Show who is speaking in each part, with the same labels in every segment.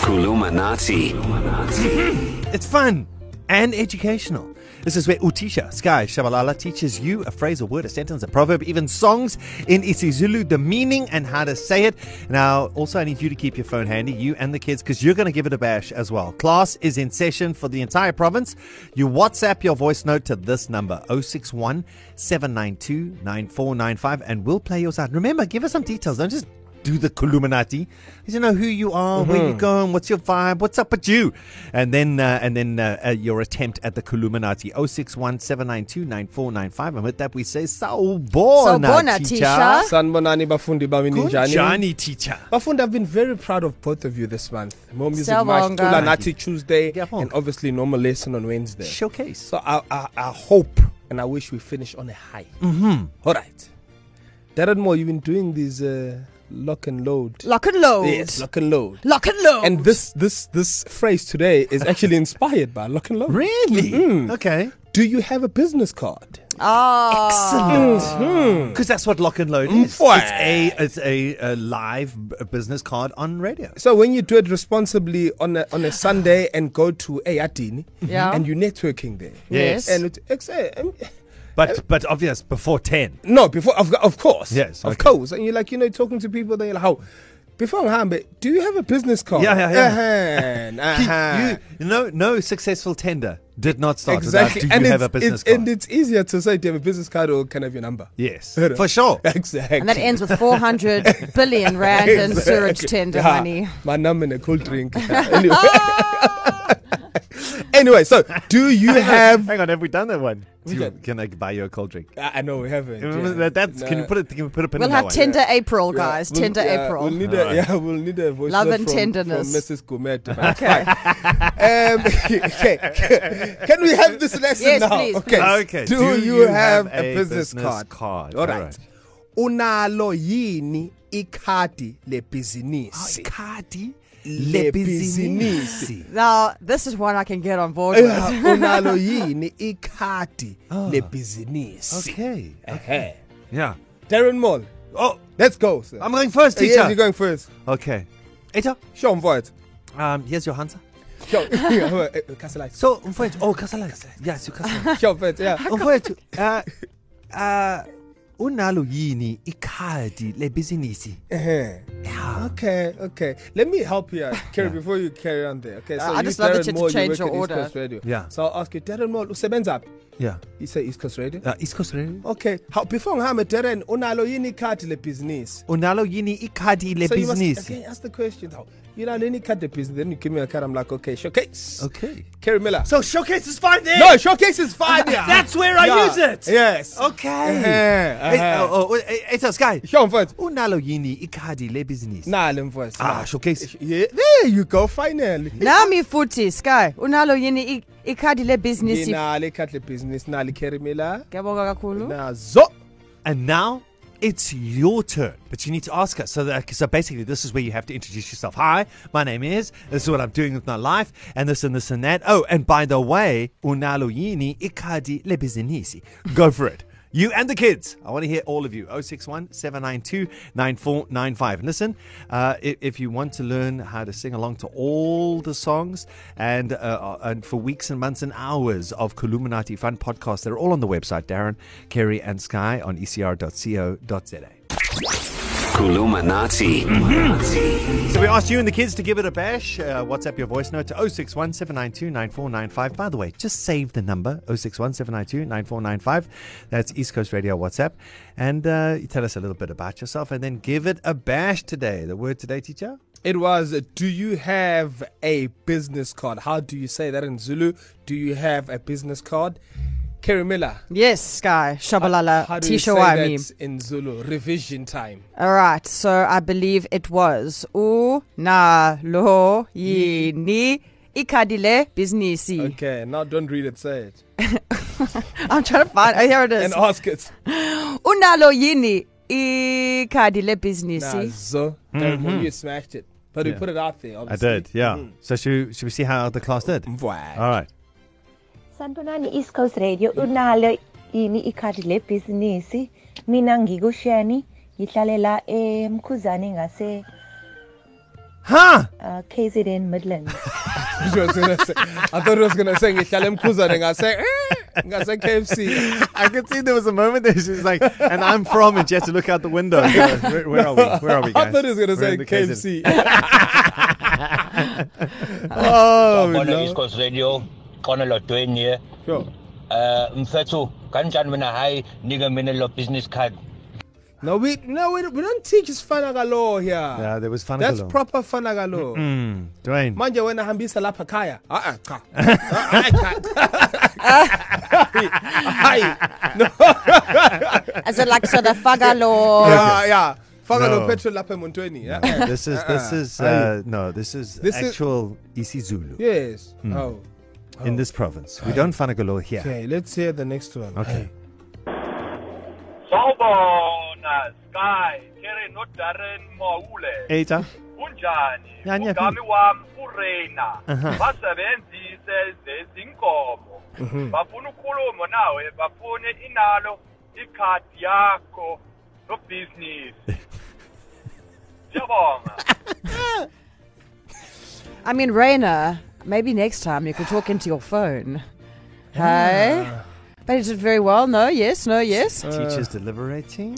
Speaker 1: Kulumanati.
Speaker 2: It's fun and educational. This is where Utisha Sky Shabalala teaches you a phrase, a word, a sentence, a proverb, even songs in isiZulu, the meaning and how to say it. Now, also, I need you to keep your phone handy, you and the kids, because you're going to give it a bash as well. Class is in session for the entire province. You WhatsApp your voice note to this number 061 792 9495, and we'll play yours out. Remember, give us some details. Don't just do the Columinati. You know who you are, where you're going, what's your vibe, what's up with you, and then uh, and then uh, uh, your attempt at the Columinati. Oh six one seven nine two nine four nine five. And with that, we say
Speaker 3: Sawubona,
Speaker 2: Sawubona, teacher.
Speaker 3: teacher.
Speaker 4: sanibonani bafundi bami ninjani
Speaker 2: Johnny teacher.
Speaker 4: bafundi i've been very proud of both of you this month more music
Speaker 3: Siyabonga.
Speaker 4: march Tula Nathi tuesday
Speaker 2: Ngiyabonga.
Speaker 4: and obviously normal lesson on wednesday
Speaker 2: Showcase.
Speaker 4: so I, I, I hope and i wish we finish on a high mm-hmm. all right darren moore you've been doing these uh, lock and load
Speaker 3: Lock and load.
Speaker 4: yes lock and load
Speaker 3: Lock and load.
Speaker 4: and this this this phrase today is actually inspired by lock and load
Speaker 2: Really? Mm-hmm. Mm. Okay.
Speaker 4: do you have a business card
Speaker 3: Ah.
Speaker 2: Excellent. Mm. Because Mm-hmm. that's what Lock and Load is.
Speaker 4: Mfwa.
Speaker 2: It's a it's a, a live b- business card on radio.
Speaker 4: So when you do it responsibly on a, on a Sunday and go to Ayatini
Speaker 3: Yeah.
Speaker 4: and you're networking there.
Speaker 3: Yes.
Speaker 4: And it, it's, eh, um,
Speaker 2: But but obvious before ten.
Speaker 4: no, before of, of course.
Speaker 2: Yes,
Speaker 4: Of
Speaker 2: okay.
Speaker 4: course. And you're like, you know, talking to people, they're like, how before Hambe, do you have a business card?
Speaker 2: Yeah, yeah,
Speaker 4: yeah.
Speaker 2: He-
Speaker 4: Uh-huh, uh-huh.
Speaker 2: You, no, no successful tender did not start
Speaker 4: exactly.
Speaker 2: without, do you
Speaker 4: and it's,
Speaker 2: have a business
Speaker 4: it's,
Speaker 2: card?
Speaker 4: And it's easier to say, do you have a business card or can I have your number?
Speaker 2: yes,
Speaker 4: You know?
Speaker 2: for sure.
Speaker 4: Exactly.
Speaker 3: And that ends with 400 billion rand in sewage tender
Speaker 4: Yeah,
Speaker 3: money.
Speaker 4: My number and a cold drink. anyway. anyway, so do you have
Speaker 2: Hang on, have we done that one? Do you-
Speaker 4: done-
Speaker 2: can I buy you a cold drink?
Speaker 4: I I know we haven't.
Speaker 2: Remember
Speaker 4: yeah.
Speaker 2: that- that's- can you
Speaker 4: No.
Speaker 2: put it? Can you put a pin
Speaker 3: We'll
Speaker 2: in that
Speaker 3: have
Speaker 2: one?
Speaker 3: tender April,
Speaker 4: Yeah,
Speaker 3: guys.
Speaker 4: we'll-
Speaker 3: tender
Speaker 4: yeah,
Speaker 3: April.
Speaker 4: We'll need a,
Speaker 2: Alright.
Speaker 4: yeah, we'll need a voice
Speaker 3: Love
Speaker 4: note
Speaker 3: and
Speaker 4: from,
Speaker 3: tenderness.
Speaker 4: from Mrs. Gourmet. okay. um, okay. Can we have this lesson
Speaker 3: Yes,
Speaker 4: now?
Speaker 3: please,
Speaker 4: okay.
Speaker 2: please. Okay,
Speaker 4: Do, you, have, a business, card?
Speaker 2: card?
Speaker 4: All right.
Speaker 2: Alright.
Speaker 4: Unalo yini ikhadi
Speaker 3: Oh,
Speaker 4: lebhizinisi?
Speaker 2: Icardi
Speaker 4: Lebhizinisi.
Speaker 3: Now, this is one I can get on board with.
Speaker 4: Yeah, Unalo yini ikhadi lebhizinisi?
Speaker 2: Ah. Okay.
Speaker 4: Okay.
Speaker 2: Yeah.
Speaker 4: Darren Moll,
Speaker 2: Oh,
Speaker 4: let's go. Sir.
Speaker 2: I'm going first, teacher.
Speaker 4: Yes, you're going first.
Speaker 2: Okay. Eta,
Speaker 4: Show him what.
Speaker 2: um, here's your answer.
Speaker 4: Yo, yo, eh, Castle
Speaker 2: So, umfowethu, oh, Kasalax. Yes, you Kasalax.
Speaker 4: Yo, but yeah.
Speaker 2: mfowethu uh, uh, unalo yini ikhadi lebhizinisi
Speaker 4: Uh-huh.
Speaker 2: Yeah.
Speaker 4: Okay, okay. Let me help you, out, Kerry, before you carry on there. Okay, so
Speaker 3: I
Speaker 4: you,
Speaker 3: just love that
Speaker 4: Darren
Speaker 3: you had to
Speaker 4: Moore,
Speaker 3: change
Speaker 4: work
Speaker 3: your
Speaker 4: at East
Speaker 3: order.
Speaker 4: Coast Radio.
Speaker 2: Yeah.
Speaker 4: So I'll ask you, Darren Moore, usebenza up.
Speaker 2: yeah
Speaker 4: You say East Coast Radio.
Speaker 2: uh, east coast radio
Speaker 4: Okay. How before ngihambe Darren unalo yini ikhadi lebhizinisi?
Speaker 2: unalo yini ikhadi
Speaker 4: So you must
Speaker 2: lebhizinisi
Speaker 4: again ask the question. How you know any card business? Then you give me a card. I'm like, okay, showcase.
Speaker 2: okay
Speaker 4: Kerry Miller.
Speaker 2: so showcase is fine there
Speaker 4: no, showcase is fine. yeah.
Speaker 2: That's where I
Speaker 4: Yeah.
Speaker 2: use it.
Speaker 4: Yes.
Speaker 2: okay
Speaker 4: Uh-huh,
Speaker 2: Eh,
Speaker 4: uh-huh.
Speaker 2: oh, oh, eh, eh, so, Sky,
Speaker 4: Show him first.
Speaker 2: unalo yini ikhadi lebhizinisi
Speaker 4: Nalo mfowethu.
Speaker 2: ah
Speaker 4: nalo.
Speaker 2: showcase
Speaker 4: Yeah, there you go. Finally.
Speaker 3: Nami futhi Sky unalo yini i- ikhadi lebhizinisi
Speaker 4: nginalo ikhadi lebhizinisi nalo ikherimila
Speaker 3: ngiyabonga kakhulu
Speaker 4: nazo
Speaker 2: and now it's your turn, but you need to ask us. So, that, so basically, this is where you have to introduce yourself. Hi, my name is. This is what I'm doing with my life, and this and this and that. Oh, and by the way, unalo yini ikadi lebizinisi. Go for it. You and the kids. I want to hear all of you. 061 792 9495. And listen, uh, if, if you want to learn how to sing along to all the songs and uh, uh, and for weeks and months and hours of Columinati Fun podcasts, they're all on the website, Darren, Kerry, and Sky on E ecr.co.za.
Speaker 1: Kulumanati.
Speaker 2: So we asked you and the kids to give it a bash. Uh, WhatsApp your voice note to 061 792 9495. By the way, just save the number 061 792 9495. That's East Coast Radio WhatsApp. And uh, you tell us a little bit about yourself and then give it a bash today. The word today, teacher?
Speaker 4: it was do you have a business card how do you say that in zulu do you have a business card kerimila
Speaker 3: Yes Sky shabalala
Speaker 4: how do you say
Speaker 3: tisho wa mimi
Speaker 4: that in zulu revision time
Speaker 3: All right, so I believe it was unalo yini ikhadi lebhizinisi
Speaker 4: okay now don't read it say it
Speaker 3: I'm trying to find oh, here it is
Speaker 4: and ask it
Speaker 3: unalo yini ikhadi lebhizinisi
Speaker 4: nazo Darren Moore, you smashed it but we
Speaker 2: Mm-hmm. Yeah.
Speaker 4: put it out there obviously.
Speaker 2: So should, we- should we see how the class did?
Speaker 4: Mwah.
Speaker 2: All right.
Speaker 5: Sanibonani East Coast Radio unalo ini ikhadi lebhizinisi mina ngikusheni ngihlalela emkhuzane ngase
Speaker 2: Huh?
Speaker 5: uh, KZN Midlands.
Speaker 4: I thought he was gonna sing Ishalemkuza and I say eh, and I say KFC.
Speaker 2: I could see there was a moment there she's like, and I'm from, and she had to look out the window. and go, Where, where are we? Where are we, guys?
Speaker 4: I thought he was gonna
Speaker 2: We're
Speaker 4: say
Speaker 2: in the KZN."
Speaker 4: KFC. oh
Speaker 1: Bona
Speaker 4: no.
Speaker 1: East Coast Radio khona lo Dwayne here
Speaker 4: Sure.
Speaker 1: uh mfethu kanjani mina hayi nika mina lo business card
Speaker 4: No, we no we, we don't teach is fanagalo here.
Speaker 2: Yeah, there was fun.
Speaker 4: That's proper fanagalo.
Speaker 2: Dwayne.
Speaker 4: manje wena hambisa lapha khaya a-a Ah, cha Ah, hayi no
Speaker 3: Also like so the fagalo.
Speaker 4: ya Ah, ya faka
Speaker 2: No.
Speaker 4: no petrol lapha emontweni ya.
Speaker 2: this is this is uh, no, this is
Speaker 4: This is-
Speaker 2: actual isiZulu
Speaker 4: yes oh
Speaker 2: in this province. We don't fanagalo here.
Speaker 4: okay let's hear the next one
Speaker 2: Okay.
Speaker 6: Sawubona Sky, Kerry no Darren Mawule.
Speaker 2: Eta.
Speaker 6: Unjani?
Speaker 2: Ya, ngiyaphila.
Speaker 6: Ugami wami uReina. Basebenzise lezinkomo. Bafuna ukukhuluma nawe, bafune inalo ikhadi yakho lo business. Siyabonga.
Speaker 3: I mean, Raina, maybe next time you could talk into your phone. Hey?
Speaker 4: Ah.
Speaker 3: But it did very well. No, yes, no, yes.
Speaker 4: Uh,
Speaker 2: Teachers deliberating.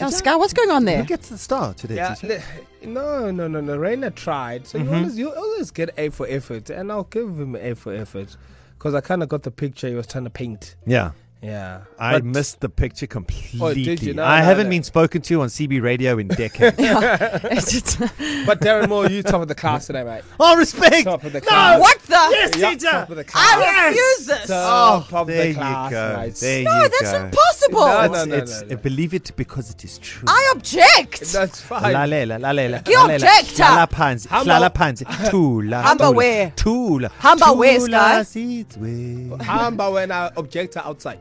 Speaker 3: Now, Sky, what's going on
Speaker 2: Who
Speaker 3: there?
Speaker 2: gets the star today,
Speaker 4: Yeah,
Speaker 2: teacher?
Speaker 4: le- Mm-hmm. no, no, no, no. Raina tried. So you always you always get A for effort, and I'll give him A for effort, because I kind of got the picture he was trying to paint.
Speaker 2: Yeah.
Speaker 4: Yeah,
Speaker 2: I
Speaker 4: But- Oh,
Speaker 2: missed the picture completely.
Speaker 4: No,
Speaker 2: I
Speaker 4: no,
Speaker 2: haven't
Speaker 4: no.
Speaker 2: been spoken to on CB radio in decades.
Speaker 4: But Darren Moore, you top of the class today, mate.
Speaker 2: oh, respect!
Speaker 4: Top of the
Speaker 2: no!
Speaker 4: class.
Speaker 3: what the?
Speaker 2: Yes,
Speaker 4: Yeah,
Speaker 2: teacher!
Speaker 4: top of the class.
Speaker 3: I refuse this.
Speaker 4: Top
Speaker 2: Oh,
Speaker 4: of
Speaker 2: there
Speaker 4: the
Speaker 2: you
Speaker 4: class,
Speaker 2: go.
Speaker 4: mate.
Speaker 2: There
Speaker 3: no,
Speaker 2: you
Speaker 3: that's
Speaker 2: go.
Speaker 3: impossible.
Speaker 4: No,
Speaker 2: It's,
Speaker 4: no, no,
Speaker 2: it's,
Speaker 4: no, no.
Speaker 2: Believe it because it is true.
Speaker 3: I object.
Speaker 4: That's fine.
Speaker 2: Lalela, lalela,
Speaker 3: You
Speaker 2: lalela.
Speaker 3: objector.
Speaker 2: Hlala phansi,
Speaker 4: Hamba-
Speaker 2: hlala phansi. Thula.
Speaker 3: Hamba
Speaker 2: thula,
Speaker 3: where?
Speaker 2: Thula.
Speaker 3: Hamba where, Sky?
Speaker 2: Thula seeds where.
Speaker 4: Hamba when I object to outside.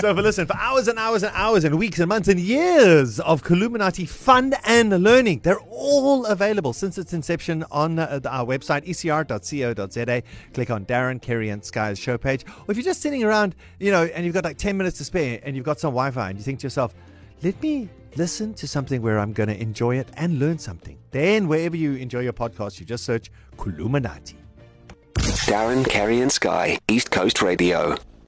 Speaker 2: So, for listen, for hours and hours and hours and weeks and months and years of Columinati fun and learning, they're all available since its inception on uh, our website, ecr.co.za. Click on Darren, Kerry, and Sky's show page. Or if you're just sitting around, you know, and you've got like 10 minutes to spare and you've got some Wi Fi and you think to yourself, let me listen to something where I'm going to enjoy it and learn something. Then, wherever you enjoy your podcast, you just search Columinati.
Speaker 7: Darren, Kerry, and Sky, East Coast Radio.